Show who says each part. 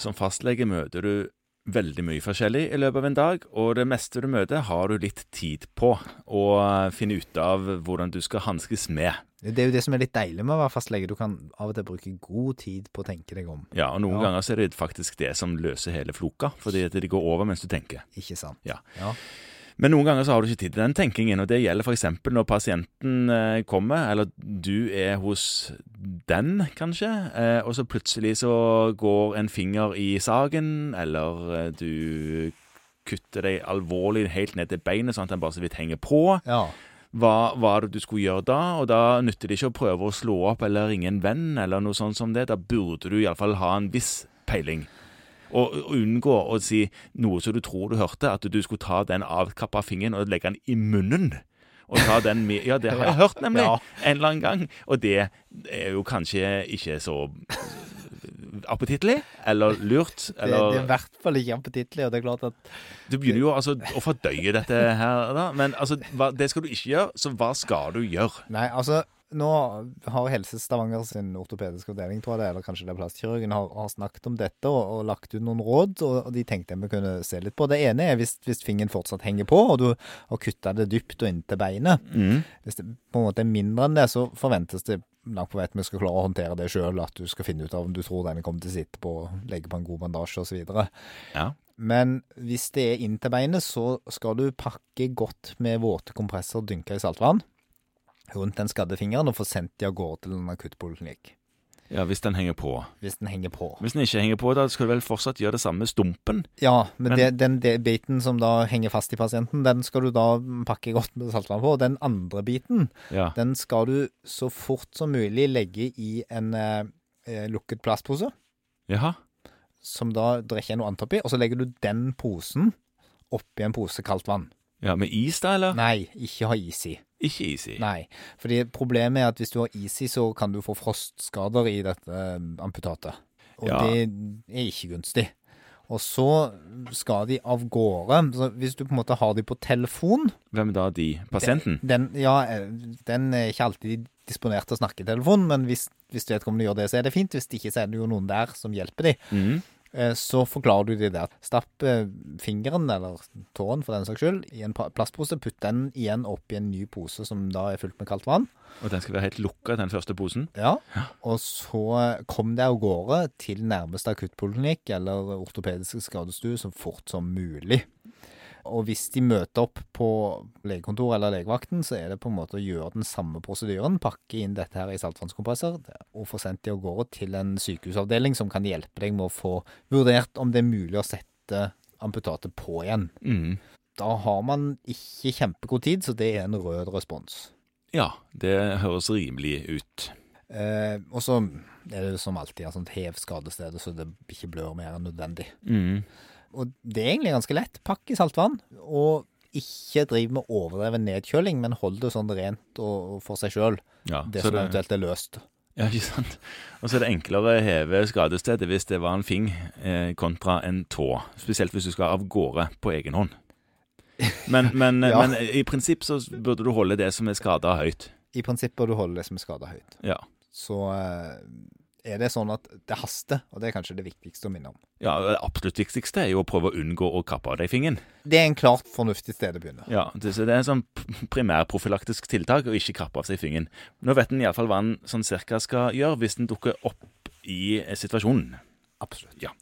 Speaker 1: som fastlege møter du veldig mye forskjellig i løpet av en dag, og det meste du møter, har du litt tid på å finne ut av hvordan du skal hanskes med.
Speaker 2: Det er jo det som er litt deilig med å være fastlege. Du kan av og til bruke god tid på å tenke deg om.
Speaker 1: Ja, og noen
Speaker 2: Ja.
Speaker 1: ganger så er det faktisk det som løser hele floka, fordi at det går over mens du tenker.
Speaker 2: Ikke sant?
Speaker 1: Ja.
Speaker 2: ja.
Speaker 1: Men noen ganger så har du ikke tid til den tenkingen, og det gjelder f.eks. når pasienten eh, kommer, eller du er hos den, kanskje, eh, og så plutselig så går en finger i sagen, eller eh, du kutter deg alvorlig helt ned til beinet, sånn at den bare så vidt henger på.
Speaker 2: ja.
Speaker 1: Hva var det du skulle gjøre da? Og da nytter det ikke å prøve å slå opp eller ringe en venn eller noe sånt som det. Da burde du iallfall ha en viss peiling. Og og unngå å si noe som du tror du hørte, at du skulle ta den avkappa fingeren og legge den i munnen. Og ta den med Ja, det har jeg hørt, nemlig.
Speaker 2: Ja.
Speaker 1: En eller annen gang. Og det er jo kanskje ikke så appetittlig eller lurt.
Speaker 2: Det, det er i
Speaker 1: Eller
Speaker 2: hvert fall ikke appetittlig, og det er klart at
Speaker 1: Du begynner jo altså å fordøye dette her, da. Men altså, hva, det skal du ikke gjøre, så hva skal du gjøre?
Speaker 2: Nei, altså nå har Helse Stavanger sin ortopediske avdeling, tror jeg det, eller kanskje det er plastkirurgen, har, har snakket om dette og, og lagt ut noen råd, og, og de tenkte vi kunne se litt på. Det ene er hvis, hvis fingeren fortsatt henger på, og du har kutta det dypt og inntil beinet. Hvis det på en måte er mindre enn det, så forventes det langt på vei at vi skal klare å håndtere det sjøl, at du skal finne ut av om du tror denne kommer til å sitte på, legge på en god bandasje osv.
Speaker 1: Ja.
Speaker 2: Men hvis det er inn til beinet, så skal du pakke godt med våte kompresser dynka i saltvann rundt den skadde fingeren og få sendt de av gårde til en akuttpoliklinikk.
Speaker 1: Ja, hvis den henger på.
Speaker 2: Hvis den henger på.
Speaker 1: Hvis den ikke henger på, da skal du vel fortsatt gjøre det samme med stumpen?
Speaker 2: Ja, men,
Speaker 1: Men-
Speaker 2: det, den de- biten som da henger fast i pasienten, den skal du da pakke godt med saltvann på. Og den andre biten,
Speaker 1: Ja.
Speaker 2: den skal du så fort som mulig legge i en eh, eh, lukket plastpose,
Speaker 1: Jaha.
Speaker 2: som da det ikke er noe annet oppi. Og så legger du den posen oppi en pose kaldt vann.
Speaker 1: Ja, Med is, da, eller?
Speaker 2: Nei, ikke ha is i.
Speaker 1: Ikke is i.
Speaker 2: Nei, fordi problemet er at hvis du har is i, så kan du få frostskader i dette eh, amputatet. Og
Speaker 1: Ja.
Speaker 2: det er ikke gunstig. Og så skal de av gårde. Så hvis du på en måte har de på telefon
Speaker 1: Hvem da de? Pasienten?
Speaker 2: den, Ja, eh, den er ikke alltid disponert til å snakke i telefon, men hvis, hvis vedkommende gjør det, så er det fint. Hvis det ikke, så er det jo noen der som hjelper de.
Speaker 1: Mhm.
Speaker 2: Eh, Så forklarer du de der. Stapp eh, fingeren, eller tåen for den saks skyld, i en pa- plastpose. Putt den igjen opp i en ny pose som da er fylt med kaldt vann.
Speaker 1: Og den skal være helt lukka, den første posen?
Speaker 2: Ja, og så kom deg av gårde til nærmeste akuttpoliklinikk eller ortopediske skadestue så fort som mulig. Og hvis de møter opp på legekontoret eller legevakten, så er det på en måte å gjøre den samme prosedyren, pakke inn dette her i saltvannskompresser og få sendt de av gårde til en sykehusavdeling som kan hjelpe deg med å få vurdert om det er mulig å sette amputatet på igjen.
Speaker 1: Mhm.
Speaker 2: Da har man ikke kjempegod tid, så det er en rød respons.
Speaker 1: Ja, det høres rimelig ut.
Speaker 2: Eh, og så er det jo som alltid altså, hev skadestedet, så det ikke blør mer enn nødvendig.
Speaker 1: Mhm.
Speaker 2: Og det er egentlig ganske lett. Pakk i saltvann, og ikke driv med overdreven nedkjøling, men hold det sånn rent og og for seg sjøl,
Speaker 1: Ja,
Speaker 2: det
Speaker 1: så
Speaker 2: som eventuelt er løst.
Speaker 1: Ja, ikke sant? Og så er det enklere å heve skadestedet hvis det var en fing eh, kontra en tå. Spesielt hvis du skal av gårde på egen hånd. Men, men,
Speaker 2: Ja.
Speaker 1: men i prinsipp så burde du holde det som er skada, høyt.
Speaker 2: I prinsippet bør du holde det som er skada høyt.
Speaker 1: Ja.
Speaker 2: Så eh, er det sånn at det haster, og det er kanskje det viktigste å minne om.
Speaker 1: ja, Det absolutt viktigste er jo å prøve å unngå å kappe av deg fingeren.
Speaker 2: Det er en klart fornuftig sted å begynne.
Speaker 1: Ja, det, så det er sånn p- primærprofylaktisk tiltak å ikke kappe av seg fingeren. Nå vet en iallfall hva en sånn cirka skal gjøre hvis den dukker opp i eh, situasjonen.
Speaker 2: Absolutt.
Speaker 1: Ja.